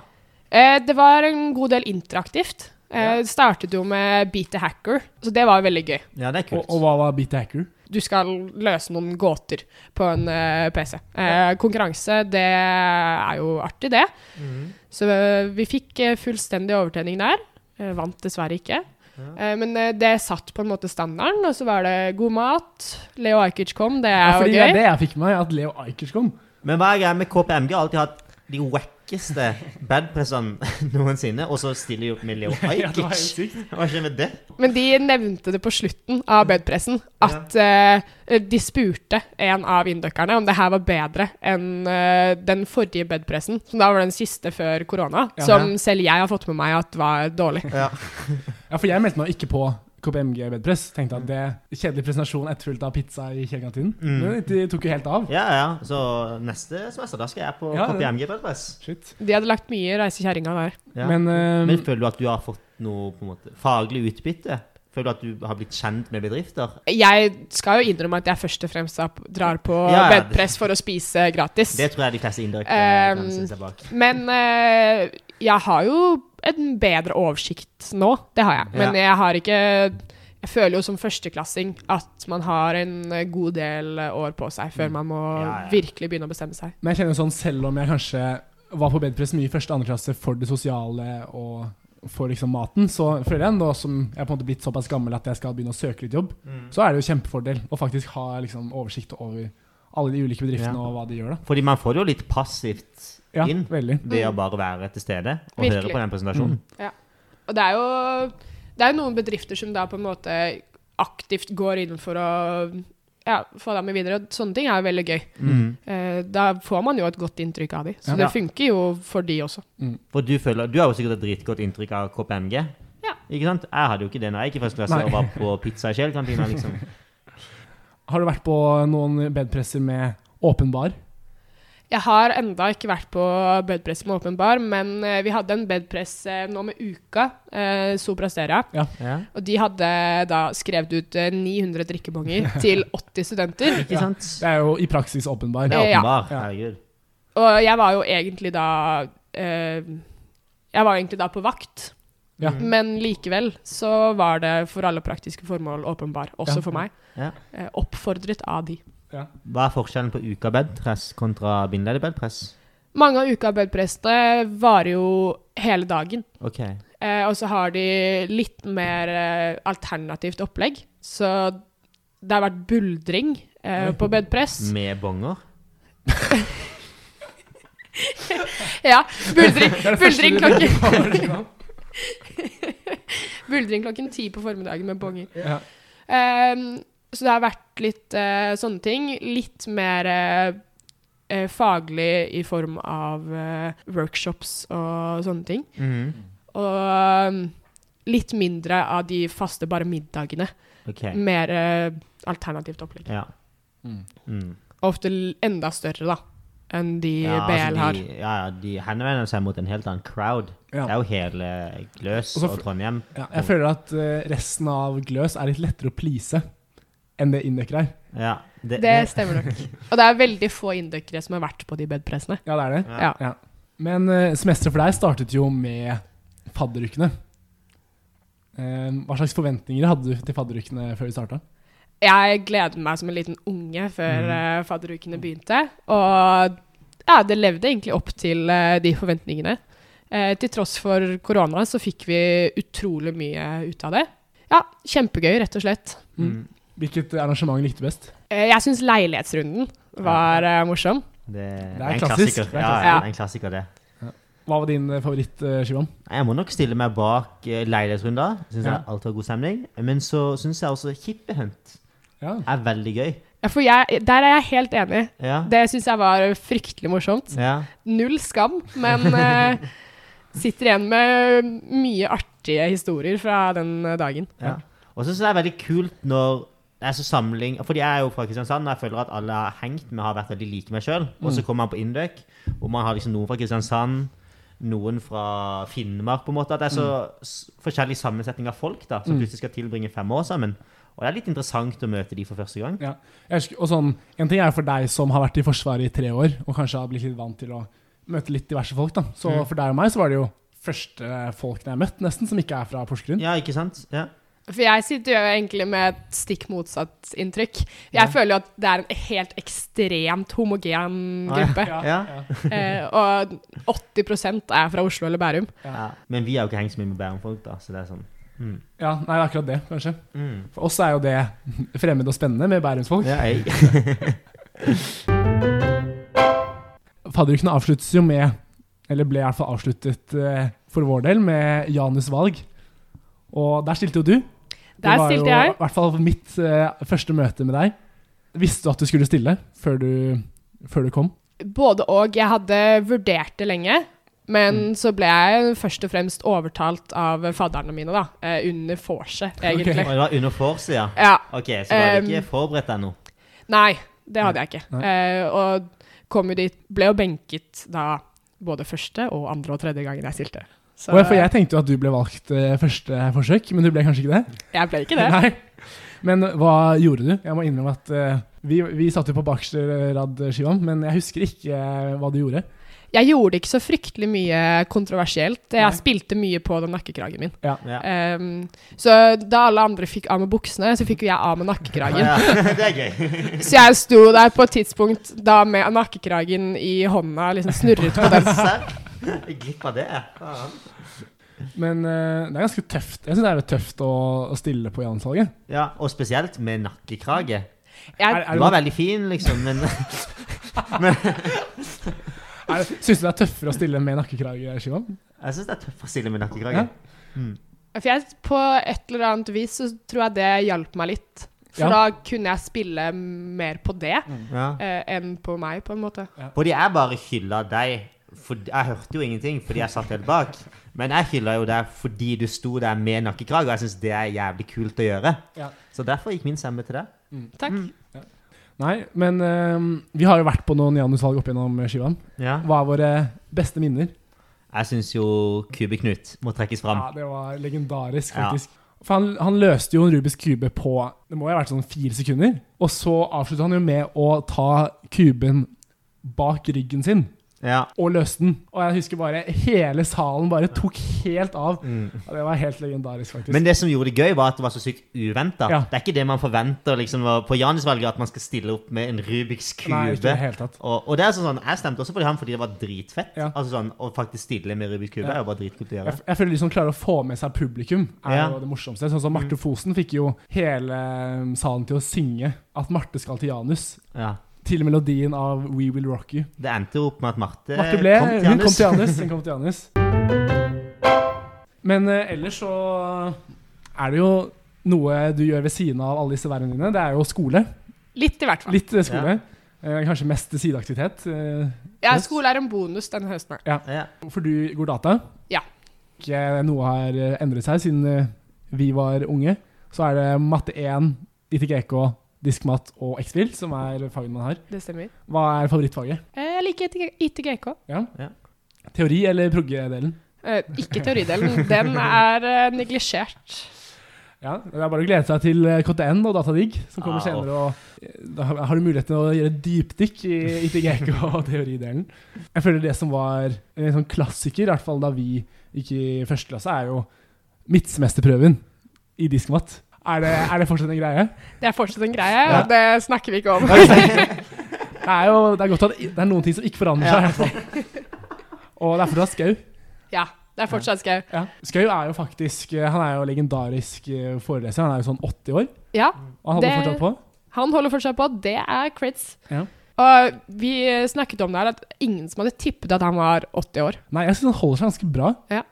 Eh, det var en god del interaktivt. Eh,
Ja.
Det startet jo med Beat the Hacker, så det var veldig gøy.
Ja, det er
Og,
kult.
og hva var Beat the Hacker?
Du skal løse noen gåter på en eh, PC. Eh, konkurranse, det er jo artig, det.
Mhm.
Så eh, vi fikk eh, fullstendig overtenning der. Eh, Vant dessverre ikke.
Ja.
Eh, Men eh, det satt på en måte standarden, og så var det god mat. Leo Ajkic kom, det
Ja,
er
fordi
jo
det er
gøy.
det jeg fikk med meg, at Leo Ajkic kom.
Men hva er greia med KPMG? Har Alltid hatt de wackeste bedpressene noensinne, og så stiller de opp med Leo
Ja, det var helt
Ajkic.
sykt.
Hva skjer med det?
Men de nevnte det på slutten av
Mm.
bedpressen, at eh, de spurte en av indøkerne om det her var bedre enn eh, den forrige bedpressen, som da var den siste før korona,
Ja.
som selv jeg har fått med meg at var dårlig.
Ja.
Ja, for jeg meldte meg ikke på KPMG bedpress. Tenkte at det kjedelig presentasjon etterfulgt av pizza i kjelekantinen.
Mm.
Men de tok jo helt av.
ja, ja. Så neste semester, da skal jeg på
Ja, det-
KPMG-bedpress.
Shit.
De hadde lagt mye reise kjerringa der.
Ja. Men,
Men, eh,
føler du at du har fått noe på en måte, faglig utbytte? Føler du at du har blitt kjent med bedrifter?
Jeg skal jo innrømme at jeg først og fremst drar på
Ja, ja.
bedpress for å spise gratis.
Det tror jeg de fleste indirekte
Ehm,
kan stille seg bak.
Men eh, jeg har jo en bedre oversikt nå, det har jeg. Men jeg har ikke Jeg føler jo som førsteklassing at man har en god del år på seg før man må
Mm. Ja, ja.
virkelig begynne å bestemme seg.
men jeg kjenner jo sånn, selv om jeg kanskje var på bedpress mye i første og andre klasse for det sosiale og for liksom maten, så føler jeg nå som jeg er på en måte blitt såpass gammel at jeg skal begynne å søke litt jobb,
Mm.
så er det jo kjempefordel å faktisk ha liksom oversikt over alle de ulike bedriftene
Ja.
og hva de gjør, da.
Fordi man får det jo litt passivt
Ja,
inn
veldig.
ved å bare være til stede og
Mm. Virkelig.
høre på den presentasjonen.
Og det er jo det er jo noen bedrifter som da på en måte aktivt går inn for å ja, få dem med videre. Og sånne ting er jo veldig gøy.
Mm.
Eh, da får man jo et godt inntrykk av de. Så
Ja.
det funker jo for de også.
For du, føler, du har jo sikkert et dritgodt inntrykk av KPMG.
Ja.
Ikke sant? Jeg hadde jo ikke det når jeg gikk i første klasse
Nei.
og var på pizza i Kjell-kantina. Liksom.
Har du vært på noen bedpresser med åpen bar?
Jeg har enda ikke vært på bedpress med åpen bar, men eh, vi hadde en bedpress eh, nå med uka, eh, Sopra Steria.
Ja.
Og de hadde da skrevet ut eh, 900 drikkebonger til 80 studenter.
Ikke sant?
Det er jo i praksis åpen bar.
Det
Ja.
er åpenbar.
Ja.
Herregud.
Og jeg var jo egentlig da eh, Jeg var egentlig da på vakt.
Ja.
Men likevel så var det for alle praktiske formål åpenbar, også
Ja.
for meg.
Ja.
Eh, oppfordret av de.
Hva er forskjellen på ukabedpress kontra bindeledebedpress?
Mange av uka bedprestene varer jo hele dagen.
Ok.
Eh, og så har de litt mer eh, alternativt opplegg. Så det har vært buldring eh, på bedpress.
Mm.
Med bonger.
Ja, buldring,
Det er det første
buldring,
du tenker
klokken,
på, er det ikke sant?
buldring klokken ti på formiddagen med bonger.
Ja.
Ehm, så det har vært litt eh, sånne ting. Litt mer eh, eh, faglig i form av eh, workshops og sånne ting.
Mm.
Mhm.
Og ehm, litt mindre av de faste bare middagene.
OK.
Mer eh, alternativt opplegg.
Ja.
Mm.
Mm.
Ofte l- enda større, da, enn de
Ja,
BL
altså,
har.
de, ja, ja, de henvender seg mot en helt annen crowd.
Ja.
Det er jo hele Gløs
Og
og,
så f-
Trondheim.
Ja, jeg føler at eh, resten av Gløs er litt lettere å please enn det Indøker er.
Ja, det,
Det stemmer nok. Og det er veldig få indøkere som har vært på de bedpressene.
Ja, det er det.
Ja.
Ja.
Ja. Men eh, semesteret for deg startet jo med fadderukene. Eh, hva slags forventninger hadde du til fadderukene før vi starta?
Jeg gleder meg som en liten unge før
Mhm.
eh, fadderukene begynte. Og ja, det levde egentlig opp til eh, de forventningene. Eh, til tross for korona så fikk vi utrolig mye ut av det. Ja, kjempegøy, rett og slett.
mm,
Hvilket arrangement likte du best?
Eh, jeg syns leilighetsrunden var eh, morsom.
det, det er
klassisk.
en klassiker.
Det er
Ja,
klassisk.
det er en klassiker, det.
Hva var din eh, favoritt, eh, Shivam?
Nei, Jeg må nok stille meg bak eh, leilighetsrunder. Syns
Ja.
jeg alt var god stemning. Men så syns jeg også Kippehunt
Ja.
er veldig gøy.
Ja, for jeg, der er jeg helt enig.
Ja.
Det syns jeg var fryktelig morsomt.
ja.
Null skam, men eh, sitter igjen med mye artige historier fra den eh, dagen.
ja. Og så syns jeg det er veldig kult når det er så samling Fordi jeg er jo fra Kristiansand, og jeg føler at alle har hengt med, har vært veldig like meg sjøl. Og så kommer man på Indøk, hvor man har liksom noen fra Kristiansand, noen fra Finnmark, på en måte. At det er så s- forskjellig sammensetning av folk da, som plutselig skal tilbringe fem år sammen. Og det er litt interessant å møte de for første gang.
Ja. Jeg husker, og sånn, en ting er for deg som har vært i Forsvaret i tre år, og kanskje har blitt litt vant til å møte litt diverse folk. da. Så
Mm.
for deg og meg så var det jo første folkene jeg møtte, nesten, som ikke er fra Porsgrunn.
Ja, ikke sant? Ja.
For jeg sitter jo egentlig med et stikk motsatt inntrykk. Jeg
Ja.
føler jo at det er en helt ekstremt homogen
Ah, ja.
gruppe.
Ja.
eh, og 80 er fra Oslo eller Bærum.
Ja. Men vi har jo ikke hengt så mye med Bærum-folk, da, så det er sånn mm.
Ja, nei, det er akkurat det, kanskje.
Mm.
For oss er jo det fremmed og spennende med bærumsfolk.
Ja, jeg,
Fadderukene avsluttes jo med, eller ble i hvert fall avsluttet eh, for vår del, med Janus valg. Og der stilte jo du.
Der
var
stilte
jo,
jeg.
I hvert fall mitt eh, første møte med deg. Visste du at du skulle stille før du, før du kom?
Både og. Jeg hadde vurdert det lenge. Men så ble jeg først og fremst overtalt av fadderne mine, da. Eh, under vorset, egentlig.
og det var under vorset, ja.
Ja.
Ok, så da har
Um,
vi ikke forberedt deg nå.
Nei, det hadde jeg ikke.
Nei.
Eh, og kom jo dit Ble jo benket da både første og andre og tredje gangen jeg stilte. Så
Og jeg, for jeg tenkte jo at du ble valgt eh, første forsøk, men du ble kanskje ikke det?
jeg ble ikke det.
Nei. Men hva gjorde du? Jeg må innrømme at eh, vi, vi satt jo på bakerste rad, Shivam, men jeg husker ikke eh, hva du gjorde.
Jeg gjorde ikke så fryktelig mye kontroversielt. Jeg
Nei.
spilte mye på den nakkekragen min.
Ja.
Ehm, så da alle andre fikk av med buksene, så fikk jo jeg av med nakkekragen.
Ja, det er gøy.
Så jeg sto der på et tidspunkt da med nakkekragen i hånda, liksom snurret på den.
Serr? Jeg Glipp av det. faen.
Men eh, det er ganske tøft. Jeg syns det er litt tøft å, å stille på Jansalget.
Ja, og spesielt med nakkekrage.
Er,
Jeg,
er,
Du var
det-
veldig fin, liksom, men
er, syns du det er tøffere å stille med nakkekrage, Shivam?
jeg syns det er tøft å stille med nakkekrage.
for jeg, på et eller annet vis så tror jeg det hjalp meg litt. For
Ja.
da kunne jeg spille mer på det
Ja.
eh, enn på meg, på en måte.
Fordi jeg bare hylla deg for, Jeg hørte jo ingenting fordi jeg satt helt bak. Men jeg hylla jo deg fordi du sto der med nakkekrage, og jeg syns det er jævlig kult å gjøre.
Ja.
Så derfor gikk min stemme til deg.
Takk.
Mm. Nei, men eh, vi har jo vært på noen Janusvalg opp igjennom, Shivam.
Ja.
Hva er våre beste minner?
Jeg syns jo Kubeknut må trekkes fram.
Ja, det var legendarisk,
Ja.
faktisk. For han, han løste jo en Rubiks kube på Det må jo ha vært sånn fire sekunder. Og så avsluttet han jo med å ta kuben bak ryggen sin.
Ja.
og løste den. Og jeg husker bare hele salen bare tok helt av.
Mm.
Og det var helt legendarisk, faktisk.
Men det som gjorde det gøy, var at det var så sykt uventa.
Ja.
Det er ikke det man forventer liksom, på Janis-valget, at man skal stille opp med en Rubiks
Nei, ikke i
kube.
det hele tatt.
Og, og det er sånn, sånn, Jeg stemte også for ham fordi det var dritfett.
Ja.
Altså sånn, Å faktisk stille med Rubiks kube
Ja.
er jo bare dritkult å gjøre.
Jeg, f- jeg føler de som klarer å få med seg publikum, er
Ja. Mm.
jo det morsomste. Sånn som Marte Fosen fikk jo hele um, salen til å synge at Marte skal til Janus.
Ja.
Til melodien av We Will Rock You.
Det endte jo opp med at Marte,
Marte ble,
kom til
hun kom
Janis.
til Janus. Hun kom til Janus. Men eh, ellers så er det jo noe du gjør ved siden av alle disse vervene dine. Det er jo skole.
Litt, i hvert fall.
Litt eh, skole. Eh, Kanskje mest sideaktivitet. eh,
Ja,
Yes.
skole er en bonus denne høsten her.
ja.
For du går data.
Ja.
Ikke noe har eh, endret seg siden eh, vi var unge. Så er det matte 1, ITGK, diskmat og X-Fil som er fagene man har.
Det stemmer.
Hva er favorittfaget?
Eh, Jeg liker ITG- ITGK.
Teori eller proggedelen?
Eh, Ikke teoridelen. Den er eh, neglisjert.
Ja, det er bare å glede seg til eh, KTN og Datadigg, som kommer
Ah,
senere. Og eh, da har- har du muligheten til å gjøre dypdykk i ITGK og teoridelen. Jeg føler det som var en sånn klassiker, i hvert fall da vi gikk i første klasse, er jo midtsemesterprøven i diskmat. Er det, er det fortsatt en greie?
Det er fortsatt en greie, og det snakker vi ikke om.
Det er jo det er godt at det er noen ting som ikke forandrer seg, i hvert fall. Og det er fortsatt Skau.
Ja, det er fortsatt skau.
Ja. Skau er jo faktisk eh, Han er jo legendarisk eh, foreleser. Han er jo sånn 80 år,
Ja,
og han holder
Det-
fortsatt på.
han holder fortsatt på. Det er creds.
Ja.
Og vi snakket om det her, at ingen som hadde tippet at han var 80 år.
Nei, jeg syns han holder seg ganske bra.
Ja.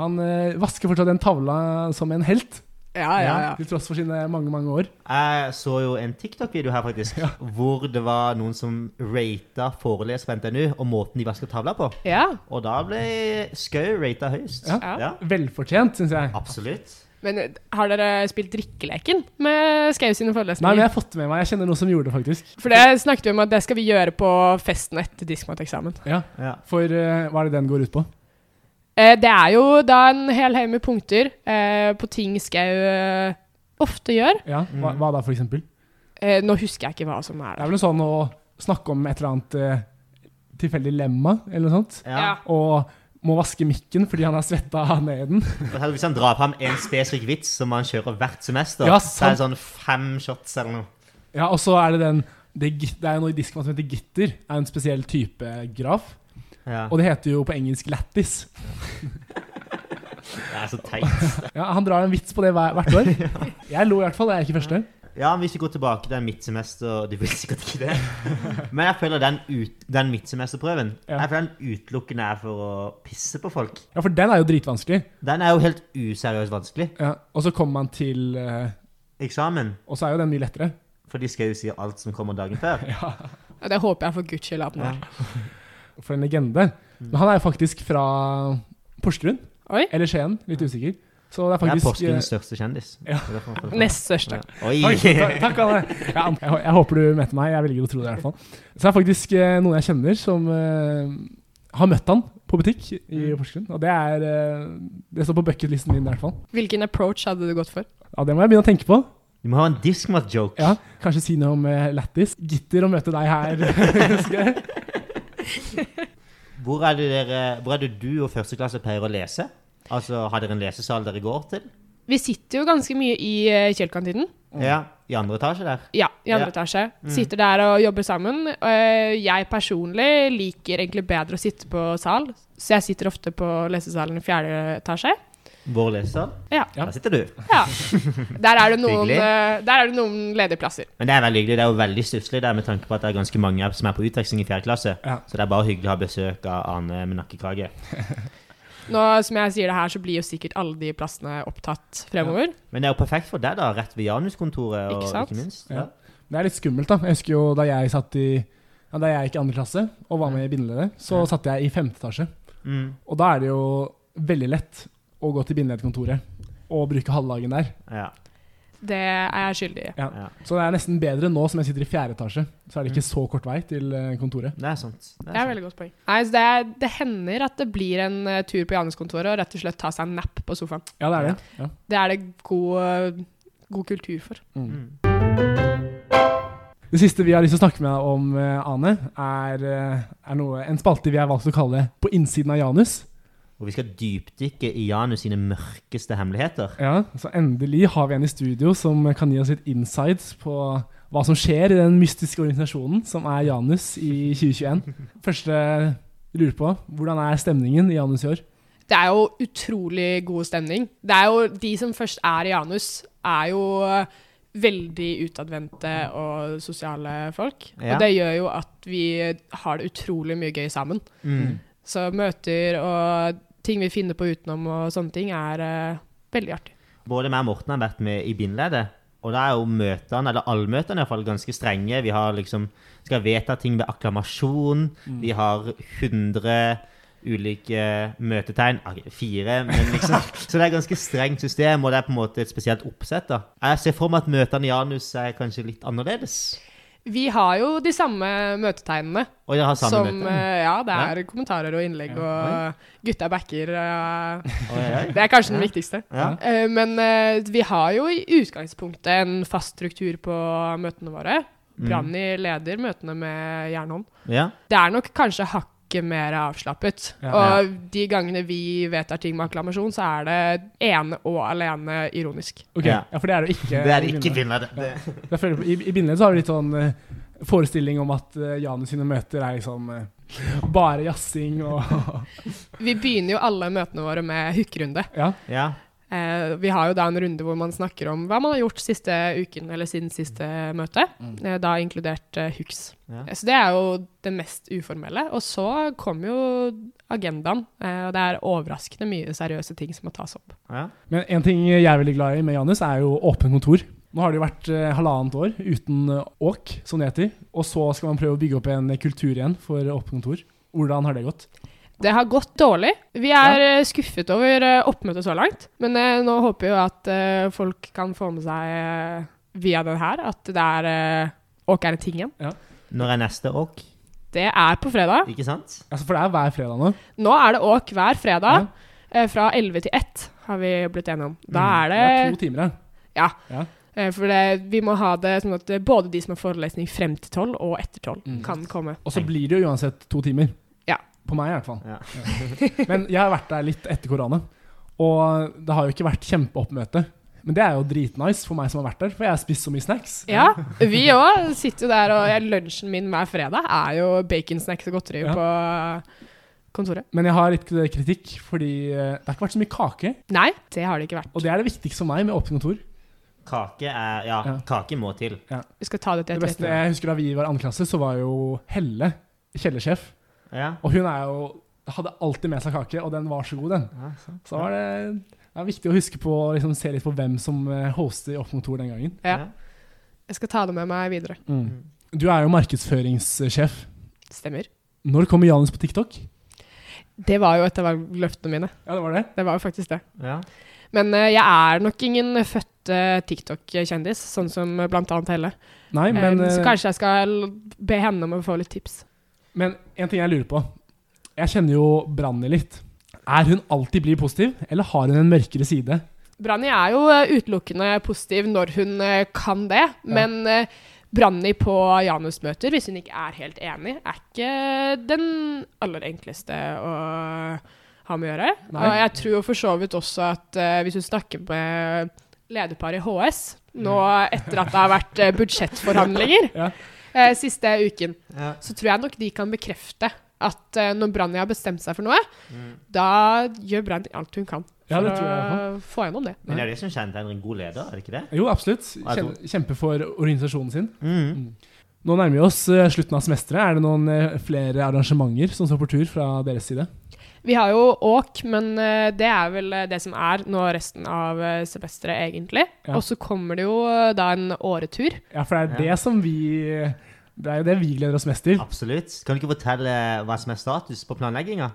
Han eh, vasker fortsatt den tavla som en helt,
Ja, ja, ja.
til tross for sine mange, mange år.
Jeg så jo en TikTok-video her faktisk, hvor det var noen som rata foreleser på NTNU og måten de vasker tavla på.
ja.
Og da ble Skau rata høyest.
Ja. Velfortjent, syns jeg.
Absolutt.
Men eh, har dere spilt drikkeleken med Skau sine
Nei, men jeg
forelesninger?
har fått det med meg. Jeg kjenner noen som gjorde det, faktisk.
For det snakket vi om at det skal vi gjøre på festen etter diskmateksamen.
Ja,
Ja.
For eh, hva er det den går ut på?
Eh, det er jo da en hel haug med punkter eh, på ting Skau eh, ofte gjør.
Ja, mm. hva, hva da, for eksempel?
Eh, nå husker jeg ikke hva som er
Det er
det.
vel noe sånn å snakke om et eller annet eh, tilfeldig lemma, eller noe sånt.
Ja.
Ja.
Og må vaske mikken fordi han har svetta ned i den.
Og her, Hvis han drar fram en spesifikk vits som han kjører hvert semester,
Ja,
så er
sant.
det sånn fem shots eller noe.
Ja, og så er det den Det, git- det er jo noe i diskmat som heter gitter. Det er en spesiell type graf.
Ja.
Og det heter jo på engelsk lattis.
Det er så teit.
Ja, Han drar en vits på det hver, hvert år. Jeg lo i hvert fall, jeg er ikke første.
Ja, men hvis vi går tilbake til midtsemester Du vil sikkert ikke det. Men jeg føler den, ut, den midtsemesterprøven
Ja.
Jeg føler den utelukkende er for å pisse på folk.
Ja, For den er jo dritvanskelig.
Den er jo helt useriøst vanskelig.
Ja, og så kommer man til eh,
Eksamen.
Og så er jo den mye lettere.
For de skal jo si alt som kommer dagen før.
Og det håper jeg for guds skyld at den
Ja.
er.
For en legende. Men han er jo faktisk fra Porsgrunn.
Oi.
Eller Skien. Litt usikker. Så det er
Det er
faktisk eh,
Porsgrunns største kjendis.
Ja.
Det er derfor han får det fra.
Nest største.
Oi,
Oi!
ta- Takk, Anne. Ja, Anne, jeg, jeg håper du møter meg. Jeg velger å tro det, i hvert fall. Så det er faktisk eh, noen jeg kjenner som eh, har møtt han på butikk i Porsgrunn. Og det er eh, Det står på bucketlisten min, i hvert fall.
Hvilken approach hadde du gått for?
Ja, det må jeg begynne å tenke på.
Du må ha en diskmat-joke.
Ja, kanskje si noe om eh, Lattis. Gitter å møte deg her. Skau.
Hvor, er det dere- hvor er det du og førsteklasse pleier å lese? Altså, Har dere en lesesal dere går til?
Vi sitter jo ganske mye i eh, Kjell-kantinen.
Mm.
Ja, I andre etasje der?
Ja, i andre
Ja. Mm.
etasje. Sitter der og jobber sammen. Eh, Jeg personlig liker egentlig bedre å sitte på sal, så jeg sitter ofte på lesesalen i fjerde etasje.
Vår lesesal?
Ja.
Ja.
Der sitter du.
ja. Der er det noen,
Hyggelig.
eh, der er det noen ledige plasser.
Men det er veldig hyggelig. Det er jo veldig stusslig der med tanke på at det er ganske mange som er på utveksling i fjerde klasse.
Ja.
Så det er bare hyggelig å ha besøk av Arne med nakkekrage.
Nå som jeg sier det her, så blir jo sikkert alle de plassene opptatt fremover.
Men det er jo perfekt for deg, da. Rett ved Januskontoret, og
Ikke
ikke,
sant?
minst.
Ja. Det er litt skummelt, da. Jeg husker jo da jeg satt i ja, Da jeg gikk i andre klasse og var med i bindeleddet, så satt jeg i femte etasje.
Mm.
Og da er det jo veldig lett å gå til bindeledkontoret og bruke halvdagen der.
ja.
Det er jeg skyldig i.
Ja.
Så det er nesten bedre nå som jeg sitter i fjerde etasje. Så er det ikke så kort vei til eh, kontoret.
Det er sant. Det
Det er et
sant.
veldig godt poeng. Nei, så det, er, det hender at det blir en eh, tur på Januskontoret og rett og slett ta seg en napp på sofaen.
Ja, det er det. Ja.
eh,
Mm.
Mm.
Det er det god, god kultur for.
Det siste vi har lyst til å snakke med deg om, eh, Ane, er, eh, er noe, en spalte vi har valgt å kalle På innsiden av Janus.
Og vi skal dypdykke i Janus sine mørkeste hemmeligheter.
Ja, så endelig har vi en i studio som kan gi oss litt insights på hva som skjer i den mystiske organisasjonen som er Janus i 2021. Første jeg lurer på, hvordan er stemningen i Janus i år?
Det er jo utrolig god stemning. Det er jo de som først er i Janus, er jo eh, veldig utadvendte og sosiale folk.
Ja.
Og det gjør jo at vi har det utrolig mye gøy sammen.
Mm.
Så møter og ting vi finner på utenom og sånne ting, er eh, veldig artig.
Både meg og Morten har vært med i bindleddet. Og da er jo møtene, eller allmøtene i hvert fall, ganske strenge. Vi har liksom, skal vedta ting ved akklamasjon. Vi har 100 ulike møtetegn. Ah, Fire, men liksom. Så det er et ganske strengt system, og det er på en måte et spesielt oppsett. da. Jeg ser for meg at møtene i Janus er kanskje litt annerledes.
Vi har jo de samme møtetegnene.
Og jeg har samme
som
møte.
eh, Ja, det er kommentarer og innlegg
Ja,
og gutta backer. eh,
Oi, oi.
Det er kanskje den viktigste.
Ja.
Eh, Men eh, vi har jo i utgangspunktet en fast struktur på møtene våre. Branni leder møtene med jernhånd.
Ja.
Det er nok kanskje hakket mer avslappet.
Ja.
Og de gangene vi vedtar ting med akklamasjon, så er det ene og alene ironisk.
Ok, ja.
Ja.
for det er det ikke.
Det er
i
ikke
Bindledet.
bindleddet. Det-
Jeg føler på- I, i Bindledet så har vi litt sånn eh, forestilling om at eh, Janus sine møter er liksom eh, bare jazzing og
Vi begynner jo alle møtene våre med hookerunde.
Ja.
Ja.
Eh, vi har jo da en runde hvor man snakker om hva man har gjort siste uken, eller siden siste møte, eh, da inkludert eh, hooks.
Ja.
Eh, Så det er jo det mest uformelle. Og så kommer jo agendaen, eh, og det er overraskende mye seriøse ting som må tas opp.
ja.
Men en ting jeg er veldig glad i med Janus, er jo åpen kontor. Nå har det jo vært eh, halvannet år uten eh, åk, som det heter. Og så skal man prøve å bygge opp en kultur igjen for åpen kontor. Hvordan har det gått?
Det har gått dårlig. Vi er eh, skuffet over eh, oppmøtet så langt. Men eh, nå håper jeg jo at eh, folk kan få med seg eh, via den her at det er eh, åk er en ting igjen.
Når er neste åk?
Det er på fredag.
Ikke sant?
Altså, for det er hver fredag nå.
Nå er det åk hver fredag eh, fra 11 til 1, har vi blitt enige om.
Mm,
Da er det,
Det er to timer her.
eh, For det, vi må ha det sånn at eh, både de som har forelesning frem til 12 og etter 12,
Mm.
kan komme.
Og så blir det jo uansett to timer.
Ja.
På meg i hvert fall.
Ja.
Men jeg har vært der litt etter korona, og det har jo ikke vært kjempeoppmøte. Men det er jo dritnice for meg som har vært der, for jeg har spist så mye snacks.
Ja, vi òg sitter jo der, og jeg, lunsjen min hver fredag er jo baconsnacks og godteri
Ja.
på kontoret.
Men jeg har litt kritikk, fordi eh, det har ikke vært så mye kake.
Nei, det har det ikke vært.
Og det er det viktigste for meg med åpent kontor.
Kake er Ja,
Ja.
kake må til.
Vi skal ta det til
Det beste jeg
etterretning.
husker da vi var i 2. klasse, så var jo Helle kjellersjef.
Ja.
Og hun er jo hadde alltid med seg kake, og den var så god, den.
ja sant.
Så var det, det er viktig å huske på å liksom, se litt på hvem som eh, hostet i åpent kontor den gangen.
Ja. Jeg skal ta det med meg videre.
Mm.
Mm.
Du er jo markedsføringssjef.
Stemmer.
Når kommer Janus på TikTok?
Det var jo et av løftene mine.
Ja, det var det.
Det var jo faktisk det.
ja.
Men eh, jeg er nok ingen født eh, TikTok-kjendis, sånn som eh, blant annet Helle.
Nei, men,
Eh, så
eh,
kanskje jeg skal be henne om å få litt tips.
men en ting jeg lurer på. Jeg kjenner jo Branni litt. Er hun alltid blid positiv, eller har hun en mørkere side?
Branni er jo eh, utelukkende positiv når hun eh, kan det, men eh, Branni på Janus-møter, hvis hun ikke er helt enig, er ikke den aller enkleste å ha med å gjøre.
Nei.
Og jeg tror jo for så vidt også at eh, hvis hun snakker med lederparet i HS, nå etter at det har vært eh, budsjettforhandlinger
Mm. Ja.
eh, siste uken,
Ja.
så tror jeg nok de kan bekrefte at eh, når Branni har bestemt seg for noe,
Mm.
da gjør Branni alt hun kan
Ja,
for
det tror jeg i hvert fall.
å få gjennom det.
Men det er jo det som kjennetegner en god leder, er det ikke det?
Jo, absolutt.
Jeg tror-
Kjem- Kjempe for organisasjonen sin.
Mm.
Nå nærmer vi oss eh, slutten av semesteret. Er det noen eh, flere arrangementer som står på tur fra deres side?
Vi har jo åk, men eh, det er vel eh, det som er nå resten av eh, semesteret, egentlig.
Ja.
Og så kommer det jo eh, da en åretur.
Ja, for det er
Ja.
det som vi Det er jo det vi gleder oss mest til.
Absolutt. Kan du ikke fortelle eh, hva som er status på planlegginga?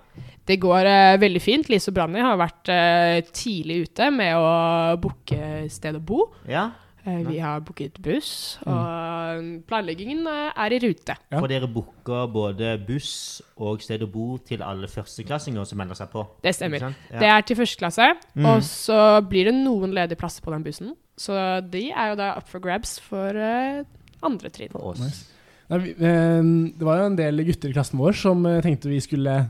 Det går eh, veldig fint. Lise og Branni har vært eh, tidlig ute med å booke sted å bo.
Ja,
Eh, vi har booket buss,
Mm.
og planleggingen eh, er i rute.
Ja.
For dere booker både buss og sted å bo til alle førsteklassinger som melder seg på.
Det stemmer.
Ikke sant? Ja.
Det er til første klasse,
Mm.
og så blir det noen ledige plasser på den bussen. Så de er jo da up for grabs for eh, andre trinn.
på oss.
Nice. Nei, vi, eh, det var jo en del gutter i klassen vår som eh, tenkte vi skulle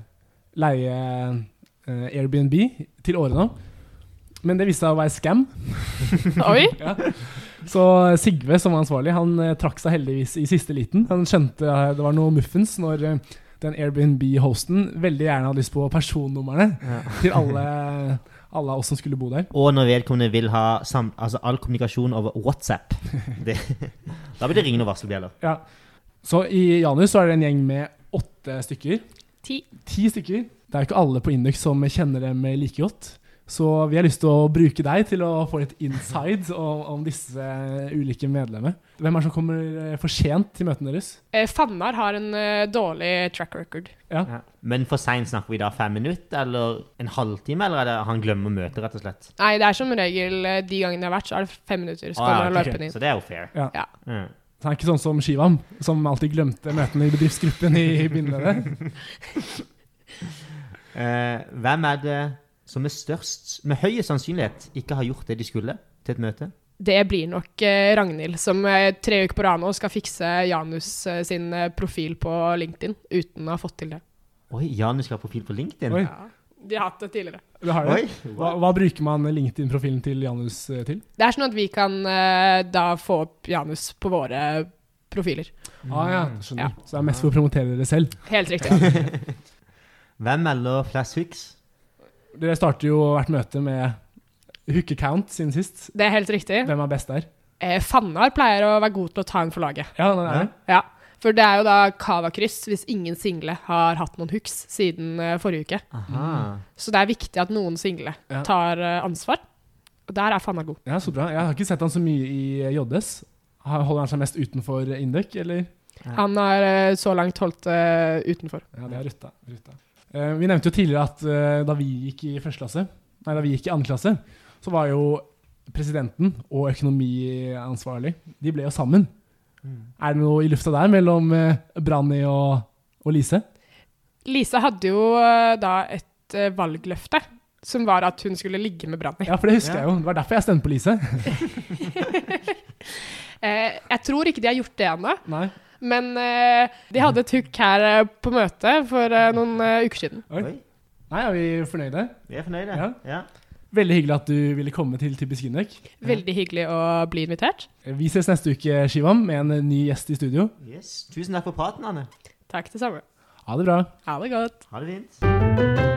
leie eh, Airbnb til Åre nå. Men det viste seg å være scam.
Oi!
Ja. Så Sigve, som var ansvarlig, han eh, trakk seg heldigvis i siste liten. Han skjønte eh, det var noe muffens når eh, den Airbnb-hosten veldig gjerne hadde lyst på personnumrene
Ja.
til alle, alle oss som skulle bo der.
Og når vedkommende vil ha sam altså all kommunikasjon over WhatsApp. Det, da blir det ringende varselbjeller.
Ja. Så i Janus så er det en gjeng med åtte stykker.
Ti.
Ti stykker. Det er jo ikke alle på Indux som kjenner dem like godt. Så vi har lyst til å bruke deg til å få litt inside om, om disse ulike medlemmene. Hvem er det som kommer eh, for sent til møtene deres?
Eh, Fannar har en eh, dårlig track record.
Ja. Men for seint snakker vi da fem minutter, eller en halvtime, eller er det han glemmer møtet, rett og slett?
Nei, det er som regel eh, de gangene jeg har vært, så er det fem minutter. Så
Ah,
kommer
ja,
han
ok,
løpende inn.
Så det er jo fair.
Ja.
Ja.
Mm.
Så han er ikke sånn som Shivam, som alltid glemte møtene i bedriftsgruppen i begynnelsen.
Eh, hvem er det som med størst, med høyest sannsynlighet, ikke har gjort det de skulle til et møte?
Det blir nok eh, Ragnhild, som eh, tre uker på rad nå skal fikse Janus eh, sin eh, profil på LinkedIn uten å ha fått til det.
Oi, Janus skal ha profil på LinkedIn.
Oi.
Ja. De har hatt det tidligere.
Det har
Oi.
jeg. Hva, hva bruker man LinkedIn-profilen til Janus eh, til?
Det er sånn at vi kan eh, da få opp Janus på våre profiler.
Ah, ja, skjønner.
Ja.
Så det er mest for å promotere dere selv.
Helt riktig. Ja.
Hvem melder flash hooks?
Dere starter jo hvert møte med hooke count siden sist.
Det er helt riktig.
Hvem er best der?
Eh, Fannar pleier å være god til å ta en for laget.
Ja, den er det.
Ja. For det er jo da Cava-kryss hvis ingen single har hatt noen hooks siden eh, forrige uke.
Aha.
Så det er viktig at noen single
Ja.
tar eh, ansvar. Og der er Fannar god.
Ja, så bra. Jeg har ikke sett han så mye i JS. Ha- Holder han seg mest utenfor Indøk, eller?
Han har eh, så langt holdt det utenfor.
Ja, det er Rutta. Rutta. Eh, vi nevnte jo tidligere at eh, da vi gikk i første klasse, nei, da vi gikk i andre klasse, så var jo presidenten og økonomiansvarlig, de ble jo sammen. Er det noe i lufta der mellom eh, Branni og, og Lise?
Lisa hadde jo eh, da et eh, valgløfte, som var at hun skulle ligge med Branni.
Ja, for det husker
Ja.
jeg jo. Det var derfor jeg stemte på Lise.
Eh, jeg tror ikke de har gjort det ennå,
Nei.
men eh, de hadde et hook her eh, på møtet for eh, noen eh, uker siden.
Oi.
Oi,
Nei, er vi fornøyde?
vi er fornøyde.
Ja.
Ja.
Veldig hyggelig at du ville komme til Typisk Indøk.
Veldig hyggelig å bli invitert.
Vi ses neste uke, Shivam, med en ny gjest i studio.
Yes. Tusen takk for praten, Anne.
Takk det samme.
Ha det bra.
Ha det godt.
Ha det fint.